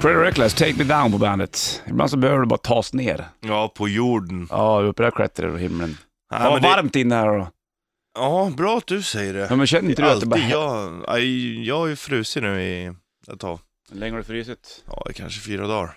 Pretty Reckless, Take Me Down på bandet. Ibland så behöver du bara tas ner. Ja, på jorden. Ja, upp där klättrar du i himlen. Nej, Ja, men vad det- varmt inne här då. Ja, bra att du säger det. Ja, men känner inte du att det Alltid bara... jag. Aj, jag har ju frusit nu i ett tag. Hur länge har du frusit? Ja, i kanske fyra dagar.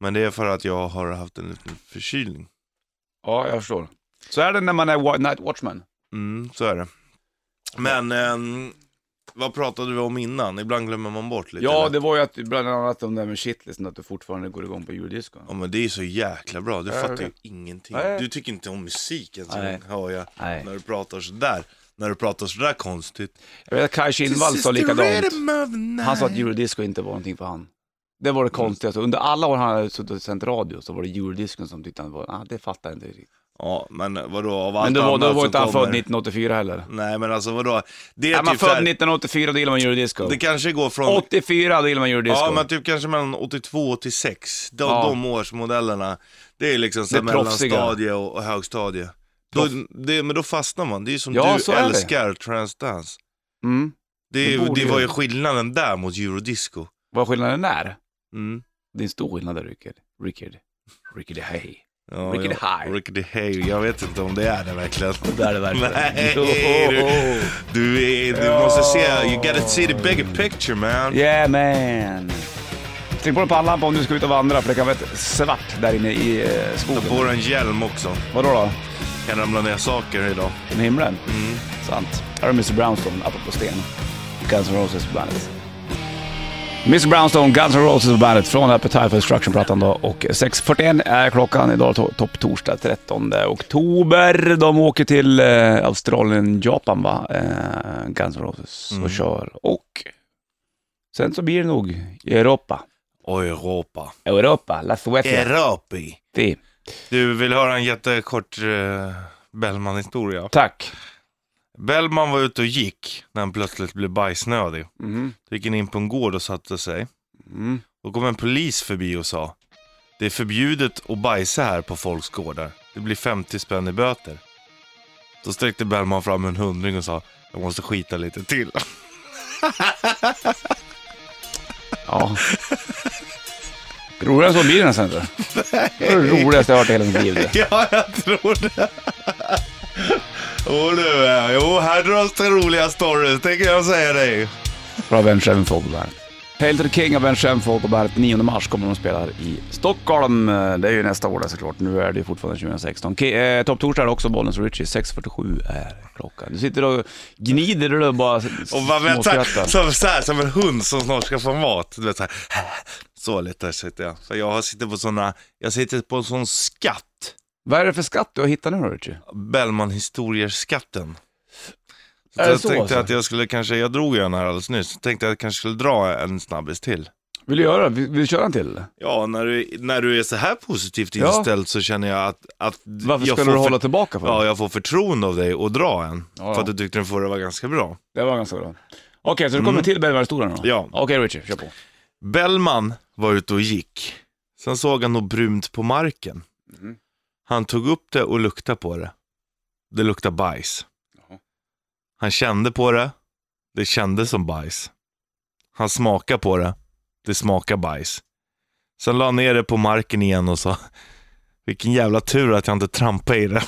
Men det är för att jag har haft en liten förkylning. Ja, jag förstår. Så är det när man är wa- night watchman. Mm, så är det. Men, ehm, vad pratade vi om innan? Ibland glömmer man bort lite. Ja, eller? det var ju att, bland annat om det här med shitlisten, att du fortfarande går igång på juldisco. ja, men det är ju så jäkla bra. Du Ja, jag fattar ju vet. ingenting. Nej. Du tycker inte om musik ens, Nej. hör jag. Nej. När du pratar sådär. När du pratar sådär konstigt. Jag vet att Kaj Kindvall sa likadant. Han sa att eurodisco inte var någonting för han. Det var det Mm. konstigaste. Under alla år han hade suttit och sänt radio så var det eurodiscon som tyckte han var, ah, det fattar jag inte riktigt. Ja, men vadå, av Men allt då var, då annat var som inte han född kommer- 1984 heller. Nej, men alltså vadå? Det är Är man typ så här- född 1984 då gillar man eurodisco. Det kanske går från... 84 då gillar man eurodisco. Ja, men typ kanske mellan 82 och 86. De, Ja. de årsmodellerna. Det är liksom så Det här är proffsiga. mellanstadie och, och högstadie. Då, det, men då fastnar man. Det är ju som Ja, du så är det. älskar Transdance. mm. Det, är Det ju- borde det ju- var ju skillnaden där mot eurodisco. Vad är skillnaden är? Mm. Det är en stor skillnad där, Rickard. Rickard. Rickard Hey. Ja, Ricky ja. High. Ricky Hay. Jag vet inte om det är det verkligen. Det är det verkligen. Nej, du, du, är, du måste se. You gotta see the bigger picture man. Yeah man. Släng på dig pannlampa om du ska ut och vandra för det kan vara ett svart där inne i eh, skogen. Får en hjälm också. Vadå då? Kan ramla ner saker idag. Från himlen? Sant. Här har Mr Brownstone, apropå sten. Guns N' Roses på bandet. Mr Brownstone, Guns N' Roses på bandet från Appetite for Destruction-plattan då. Och 6.41 är klockan idag, to- topp torsdag 13 oktober. De åker till eh, Australien, Japan va, eh, Guns N' Roses och kör. Och sen så blir det nog Europa. Och Europa. Europa, La Suecia. Europi. Fy. Du vill höra en jättekort eh, Bellman-historia? Tack. Bellman var ute och gick när han plötsligt blev bajsnödig. Mm-hmm. Då gick han in på en gård och satte sig. Mm. Då kom en polis förbi och sa Det är förbjudet att bajsa här på folks gårdar. Det blir 50 spänn i böter. Då sträckte Bellman fram en hundring och sa Jag måste skita lite till. Ja. Roligare än så blir det nästan inte. Det är det roligaste jag har hört i hela mitt liv. det. ja, jag tror det. Jo du, eh, jo här dras det roliga stories, det kan jag säga dig. Bra Ben Shenfold på bandet. Hail to the King av Ben Shenfold på bandet. 9 mars kommer de att spela här i Stockholm. Det är ju nästa år där såklart. Nu är det ju fortfarande 2016. Ke- eh, Topptorsdag är det också Bollnäs och Richie. 6.47 är klockan. Du sitter och gnider du och bara s- Och man vet, så här, småskrattar. som, så här, som en hund som snart ska få mat. Du vet, så, här, så lite sitter jag. Så jag har- sitter på såna, jag sitter på en sån skatt. Vad är det för skatt du har hittat nu då Richie? Bellman historier-skatten. Så Är det jag så, tänkte alltså? att jag skulle kanske, jag drog ju den här alldeles nyss, så tänkte att jag kanske skulle dra en snabbis till. Vill du göra det? Vill vill du köra en till? Ja, när du, när du är så här positivt Ja. inställd så känner jag att... att Varför jag skulle får du hålla för, tillbaka för? Ja, jag får förtroende av dig och dra en. Ja, För ja. att du tyckte den förra var ganska bra. Det var ganska bra. Okej, så du kommer till Bergvärldsstolen då? Mm. Ja. Okej Richie, kör på. Bellman var ute och gick. Sen såg han något brunt på marken. Mhm. Han tog upp det och luktade på det. Det luktade bajs. Jaha. Han kände på det. Det kändes som bajs. Han smakade på det. Det smakade bajs. Sen la han ner det på marken igen och sa Vilken jävla tur att jag inte trampade i det.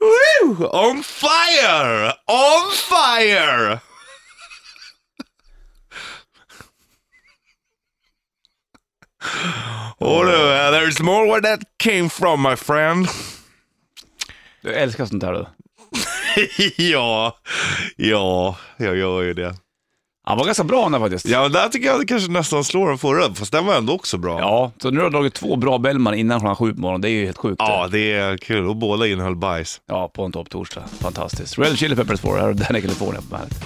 Woo! On fire! On fire! Oh, no, uh, there's more where that came from my friend. Du älskar sånt här du. ja, ja, jag gör ju det. Han var ganska bra den här faktiskt. Ja, men där tycker jag det kanske nästan slår den förra, fast den var ändå också bra. Ja, så nu har du dragit två bra Bellman innan klockan sju på morgonen. Det är ju helt sjukt. Ja, det är kul och båda innehöll bajs. ja på en topptorsdag. Fantastiskt. Red Chili Peppers får det här och Danny California på bandet.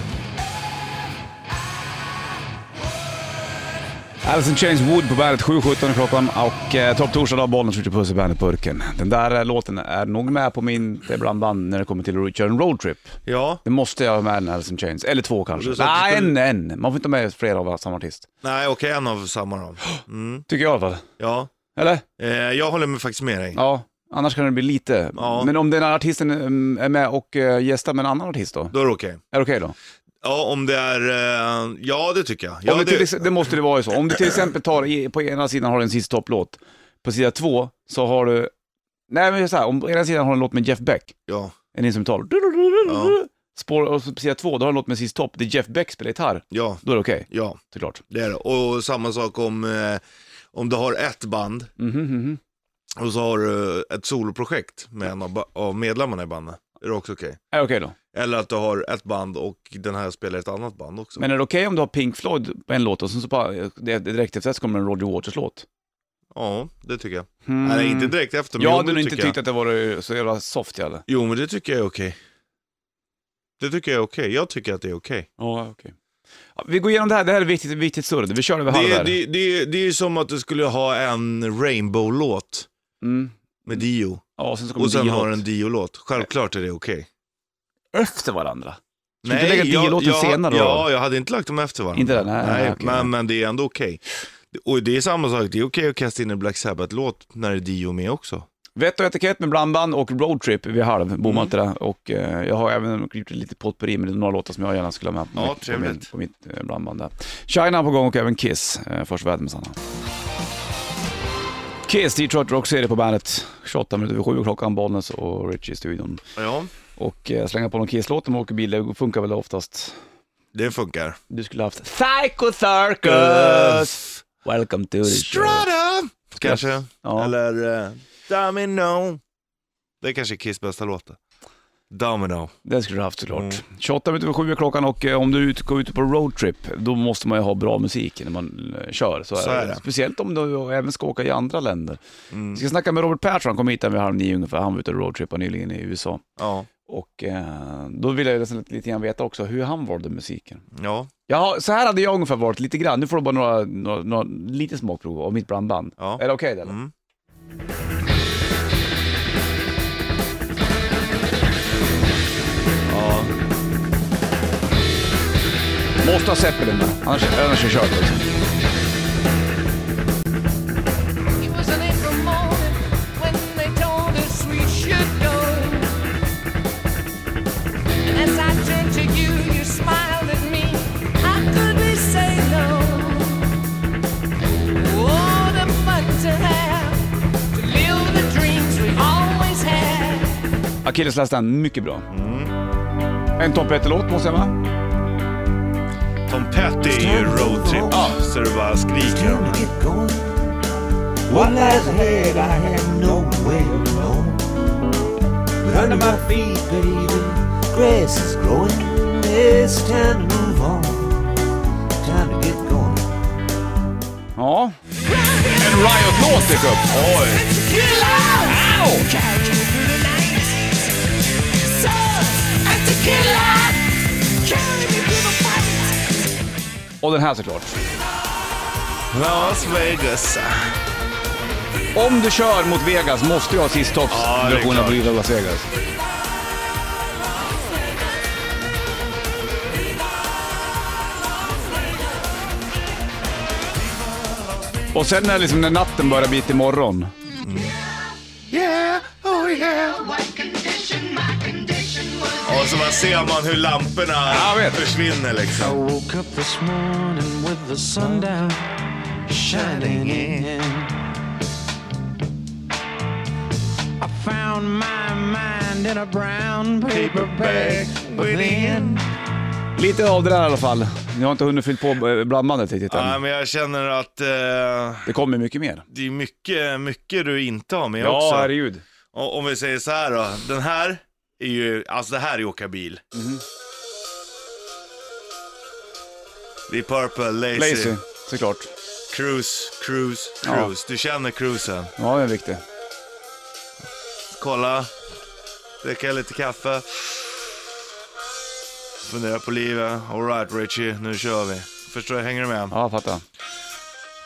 Alice in Chains Wood på bandet 7.17 är klockan och eh, topptorsdag dag, bollen skjuter puss i bandetburken. Den där eh, låten är nog med på min blandband när det kommer till att köra en roadtrip. Ja, Det måste jag ha med den Alice in Chains, eller två kanske. Du sa att du Nej, en, skulle- en. Man får inte ha med flera av samma artist. nej okej, en av samma då. Mm, Tycker jag i alla fall. ja, Eller? eh, jag håller med, faktiskt med dig. Ja. Annars kan det bli lite. Ja. Men om den här artisten mm, är med och eh, gästar med en annan artist då? Då är det okej. Är det okej då? Ja, om det är... eh, Ja, det tycker jag. om Ja, det, till, det, ex- det måste det vara ju så. Om du till exempel tar, i- på ena sidan har du en sista topplåt, på sida två så har du, nej men så här, om på ena sidan har du en låt med Jeff Beck, ja, en instrumental. Ja. Spår, och så på sida två, då har du en låt med sist topp, det är Jeff Beck spelar gitarr. ja, Då är det okej, ja, såklart. det är det. Och samma sak om, eh, om du har ett band Mhm, mhm. och så har du eh, ett soloprojekt med en av, ba- av medlemmarna i bandet. Är det också okej? Är det okej då? Eller att du har ett band och den här spelar ett annat band också. Men är det okej om du har Pink Floyd på en låt och sen så bara, eh, det- direkt efter det så kommer en Roger Waters-låt? Ja, det tycker jag. Mm. Nej, inte direkt efter, men Jag jo, hade men nog det inte tycker jag. tyckt att det var så jävla soft jag hade. Jo, men det tycker jag är okej. Det tycker jag är okej. Jag tycker att det är okej. Ja, okej. Ja, Vi går igenom det här, det här är viktigt, viktigt surr. Vi kör över halv Det, är- här. det, det, det är ju som att du skulle ha en Rainbow-låt Mm. med Dio. Ja, sen så kommer Och sen Dio har åt. en Dio-låt. Självklart är det okej. efter varandra. Ska vi inte lägga Dio-låten jag, senare då? Ja, jag hade inte lagt dem efter varandra. Inte det? Nej, nej, okej, nej. men, men det är ändå okej. Och det är samma sak, det är okej att kasta in en Black Sabbath-låt när det är Dio med också. Vett och etikett med blandband och roadtrip vid halv, bommar Mm. inte det. Och eh, jag har även gjort lite potpurri med några låtar som jag gärna skulle ha med på, Ja, mitt, på, min, trevligt. på mitt eh, blandband där. China på gång och även Kiss. Eh, först väder med Sanna. Kiss, Detroit Rock City på bandet. 28 minuter över sju klockan, Bollnäs och Richie i studion. Ja, Och eh, slänga på någon Kiss-låt när man åker bil, det funkar väl oftast. det funkar. Du skulle haft Psycho Circus! Welcome to the show. Strata! Kanske. Ja. Eller eh, Domino. Det är kanske Kiss bästa låt. Domino. Det skulle du haft såklart. Mm. 28 minuter över sju är klockan och eh, om du ut, går ut på roadtrip, då måste man ju ha bra musik när man eh, kör. Så, Så är det. Speciellt om du även ska åka i andra länder. Mm. Vi ska snacka med Robert Persson, han kom hit här vid halv nio ungefär. Han var ute och roadtrippade nyligen i USA. Ja. Och eh, då vill jag nästan lite grann veta också hur han valde musiken. Ja. Jaha, så här hade jag ungefär varit lite grann. Nu får du bara några, några, några lite smakprov av mitt blandband. Ja. Är det okej eller? Mm. Ja. Måste ha Zeppelin med, annars, annars är det kört. Liksom. It was an April morning when they told us we should go. And as I turned to you, you smiled at me. How could we say no? Oh, the fun to have, to live the dreams we always had. Achilles Last Stand, mycket bra. En topp låt måste jag va? Tom Petty är ju roadtrip. Ja. Så det bara skriker om det. get going. What lies ahead, I have no way of knowing. But under my feet, baby, grass is growing. It's time to move on. Time to get going. Ja. En Riot-låt dök upp. Oj. Och den här såklart. Las Vegas. Om du kör mot Vegas måste du ha sist topps Ja, det är versionen av klart. Viva Las Vegas. Och sen när, liksom, när natten börjar bli till morgon. Yeah, oh yeah. Och så man ser man hur jag lamporna vet. försvinner liksom. I woke up this morning with the sun down shining in. I found my mind in a brown paper bag within. Lite av det där i alla fall. Ni har inte hunnit fyllt på eh, blandbandet riktigt än. Ja, men jag känner att eh, Det kommer mycket mer. det är mycket, mycket du inte har med också. herregud. Och, om vi säger så här då. Den här är ju, alltså det här är ju åka bil. Mhm. Det är Purple, Lazy, Lazy, såklart. Cruise, Cruise, Cruise. Du känner cruisen. Ja, det är viktigt. Kolla, dricka lite kaffe. Fundera på livet. Alright Richie, nu kör vi. Förstår du? Hänger du med? Ja, jag fattar.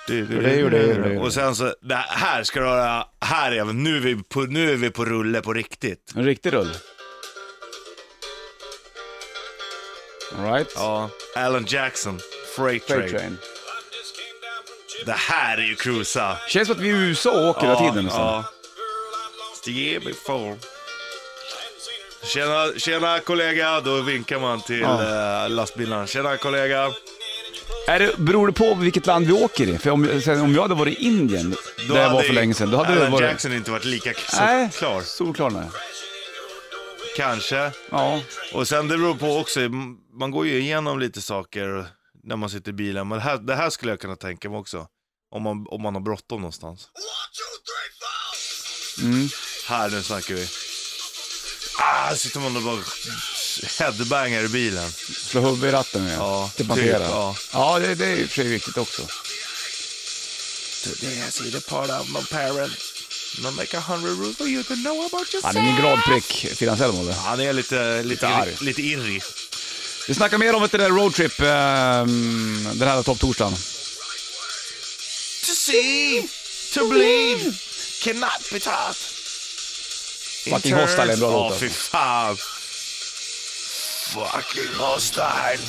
Du, du, det gjorde jag, det gjorde Och sen så, det här ska du höra, här är vi, nu är vi på, nu är vi på rulle på riktigt. En riktig rull. Alright. Ja. Alan Jackson, Freight Train. Freight train. Det här är ju cruisa. Känns som att vi är i USA och åker hela tiden nästan. ja. the year before. Tjena, tjena kollega, då vinkar man till eh, lastbilen. Tjena kollega. Är det, beror det på vilket land vi åker i? För om, sen, om jag hade varit i Indien, Då där jag var hade för länge sedan, då hade Alan det varit... Jackson inte varit lika Nej, klar. solklar nej. Kanske. Ja, Och sen det beror på också, m- man går ju igenom lite saker när man sitter i bilen. Men det här, det här skulle jag kunna tänka mig också. Om man, om man har bråttom någonstans. Här, nu snackar vi. Ah, sitter man och bara headbangar i bilen. slå huvudet i ratten med. Ja, det passerar. typ, ja, ja. det, det är i och för sig viktigt också. Today I see the part of my parents. And I make a hundred rules for you to know about yourself. Han är ingen glad prick, Fidan Selmo. Han är lite, lite, arg. irri- lite irrig. Vi snackar mer om ett där roadtrip ehm, den här topptorsdagen. To see, to believe, cannot be taught. Fucking Hostile är en bra låt, Ja, alltså. fy fan. Fucking hostile.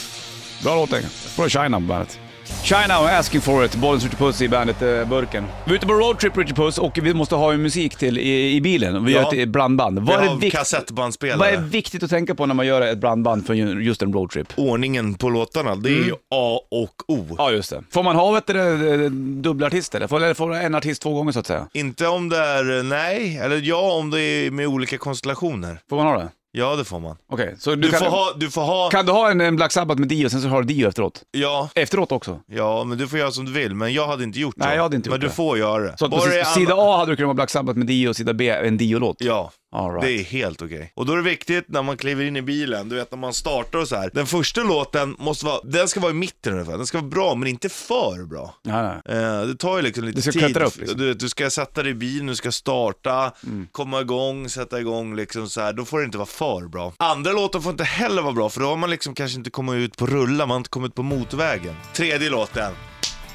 Bra låt det. Från China på bandet. China och Asking For It, Bollens Ritchie Puss i bandet eh, Burken. Vi är ute på roadtrip Ritchie Puss och vi måste ha ju musik till i, i bilen. Vi Ja. gör ett eh, blandband. Vad Vi är, har vikt- kassettbandspelare. vad är viktigt att tänka på när man gör ett blandband för ju- just en roadtrip? Ordningen på låtarna, det är ju Mm. A och O. Ja, just det. Får man ha vet du, det, eh, dubbla artister? Eller Får, eller får en artist två gånger så att säga? Inte om det är, eh, nej, eller ja om det är med olika konstellationer. Får man ha det? Ja, det får man. Okej, så du, Du, kan, får ha, du får ha, kan du ha en, en Black Sabbath med Dio och sen så har du Dio efteråt? ja, Efteråt också? ja, men du får göra som du vill. Men jag hade inte gjort Nej, det. jag hade inte men gjort det. du får göra det. Så att på Bara det är si- alla- sida A hade du kunnat vara Black Sabbath med Dio och sida B en Dio-låt? Ja, All right. det är helt okej. Och då är det viktigt när man kliver in i bilen, du vet när man startar och så här. Den första låten måste vara, den ska vara i mitten ungefär. Den ska vara bra, men inte för bra. Nej, nej. Eh, det tar ju liksom lite Du ska tid. klättra upp, liksom. Mm. du, vet, du ska sätta dig i bilen, du ska starta, komma igång, sätta igång liksom så här. Då får det inte vara för bra. Andra låten får inte heller vara bra, för då har man liksom kanske inte kommit ut på rulla, man har inte kommit på motvägen. Tredje låten,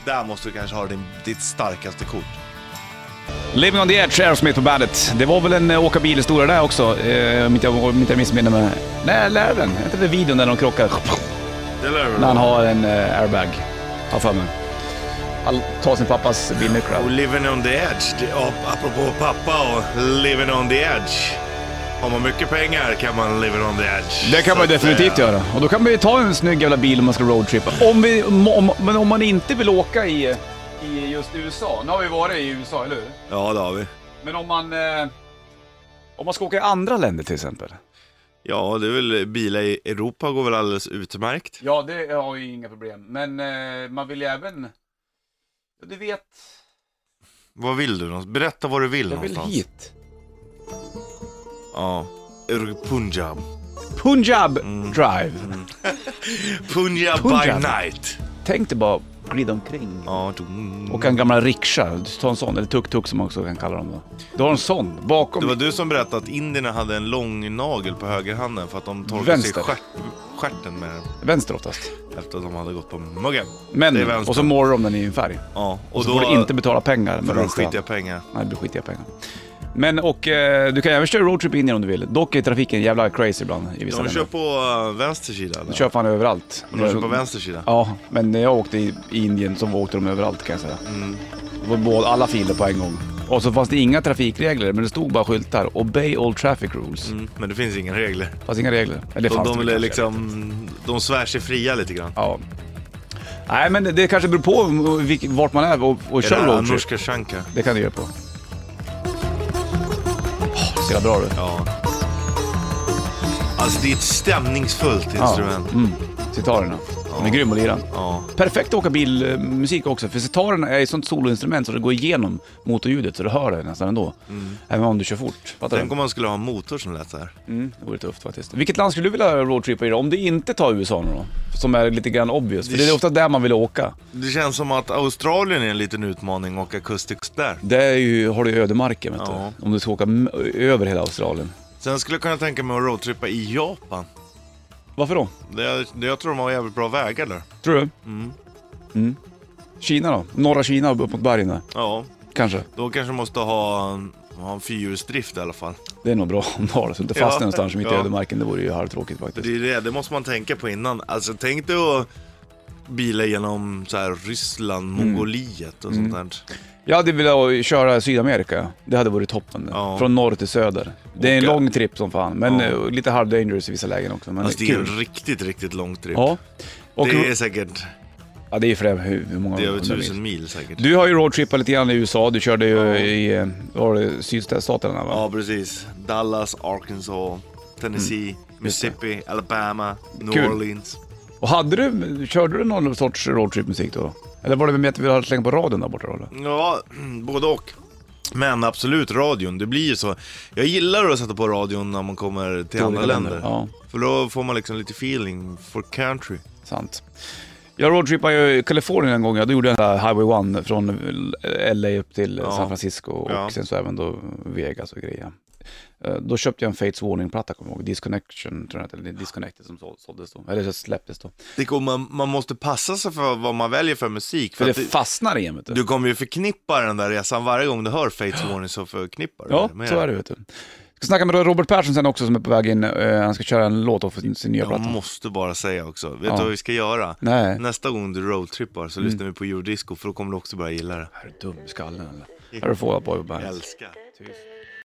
där måste du kanske ha din, ditt starkaste kort. Living on the Edge, Aerosmith på bandet. Det var väl en eh, åka bil historia där också, eh, om inte jag, om inte jag missminner mig. Nej, lär den. Är inte det videon där de krockar? Det lär väl När han vara. har en eh, airbag, har för mig. Han tar sin pappas Och bilnycklar. Living on the edge, det, ap- apropå pappa och living on the edge. Har man mycket pengar kan man living on the edge. Det kan man Så att, definitivt eh, göra. Och då kan man ju ta en snygg jävla bil om man ska roadtrippa. Om vi, om, om, men om man inte vill åka i, i just USA. Nu har vi varit i USA, eller hur? Ja, det har vi. Men om man... Eh, om man ska åka i andra länder till exempel. Ja, det är väl bilar i Europa går väl alldeles utmärkt. Ja, det har ju inga problem. Men eh, man vill ju även... Ja, Du vet... Vad vill du? någonstans? Berätta vad du vill Jag vill någonstans. hit. Ja. Ur- Punjab. Punjab Drive. Punjab, Punjab. by night. Tänk dig bara glida omkring. Ja, dum. Åka en gammal rikscha, ta en sån, eller tuk-tuk som man också kan kalla dem då. Du har en sån bakom. Det var du som berättade att indierna hade en lång nagel på högerhanden för att de torkade sig Vänster. stjärt, stjärten med den Vänster oftast. efter att de hade gått på muggen. Det är Men, vänster. och så målar de den i en färg. Ja, och, Och så då... får du inte betala pengar med för då vänster skiter jag hand. pengar. Nej, det blir skitiga pengar. Men och eh, du kan även köra roadtrip in om du vill. Dock är trafiken jävla crazy ibland i vissa De länder. kör på eh, vänster sida eller? De kör Mm. fan överallt. Alltså, De kör på vänster sida. Ja, men när jag åkte i i Indien så åkte de överallt kan jag säga. Det var både alla filer på en gång. Och så fanns det inga trafikregler, men det stod bara skyltar. Obey all traffic rules. Mm, men det finns inga regler. Fanns inga regler. Eller De, fanns de, det är kanske. liksom, de svär sig fria lite grann. Ja. Nej, men det- det kanske beror på vilk- vart man är och, och Är det kör här roadtrip. Anushka Shankar? Det kan du göra på. Oh, så jävla bra du. Ja. Alltså det är ett stämningsfullt Ja. instrument. Mm. Sitarerna. De är grym att lira. Ja. Perfekt att åka bilmusik också, för sitarerna är ett sånt soloinstrument så det går igenom motorljudet så du hör det nästan ändå. Även om du kör fort. Fattar Tänk du? om man skulle ha en motor som lät så här. Mm, det vore tufft faktiskt. Vilket land skulle du vilja roadtrippa i då? Om du inte tar USA nu då? Som är lite grann obvious, för det är ofta där man vill åka. Det känns som att Australien är en liten utmaning att åka kust till kust där. Det är ju, har du ju ödemarken vet Ja. du. Om du ska åka m- över hela Australien. Sen skulle jag kunna tänka mig att roadtrippa i Japan. Varför då? Det, det, jag tror de har jävligt bra vägar där. Tror du? Mm. Kina då? Norra Kina upp mot bergen där? Ja, Kanske. då kanske de måste ha en, ha en fyrhjulsdrift i alla fall. Det är nog bra om du har det, så du inte Ja. fastnar någonstans mitt i Ja. ödemarken. Det vore ju halvtråkigt faktiskt. Det är det, det måste man tänka på innan. Alltså tänk dig att bilar genom så här, Ryssland, Mm. Mongoliet och sånt där. Jag hade velat köra Sydamerika. Det hade varit toppen. Ja. Från norr till söder. Det är en Åka. lång tripp som fan. Men Ja. eh, lite halv dangerous i vissa lägen också. Men Alltså det är kul. en riktigt, riktigt lång trip. Ja. Och, det är säkert, ja, det är flera, hur, hur många det är över hundra mil? tusen mil säkert. Du har ju roadtrippat lite grann i USA. Du körde ju i eh, vad var det, sydstaterna va? Ja precis. Dallas, Arkansas, Tennessee, Mississippi, Alabama, New Mm. Kul. Orleans. Och hade du, körde du någon sorts roadtripmusik då? Eller var det med att vi hade slängt på radion där borta då? eller? Ja, både och. Men absolut radion, det blir ju så. Jag gillar att sätta på radion när man kommer till andra olika länder. Ja, För då får man liksom lite feeling for country. sant. Jag roadtrippade ju i Kalifornien en gång. Jag gjorde jag den där Highway 1 från LA upp till Ja. San Francisco och Ja. sen så även då Vegas och grejer. Eh, Då köpte jag en Fates Warning-platta, kommer jag ihåg. Disconnection, tror jag den hette, eller Disconnected som så- såldes då. Eller så släpptes då. Det kommer, man, man måste passa sig för vad man väljer för musik. För För det att det, fastnar i en, vet du. du kommer ju förknippa den där resan varje gång du hör Fates Warning så förknippar du Ja, det med så är det vet du. Jag ska snacka med Robert Persson sen också som är på väg in. Eh, Han ska köra en låt för sin, sin nya Jag platta. måste bara säga också, vet Ja. du vad vi ska göra? Nej. Mm. Nästa gång du roadtrippar så lyssnar vi på eurodisco för då kommer du också börja gilla det. Är du dum i skallen eller? Här har du fått på bandet. älskar. Tyst.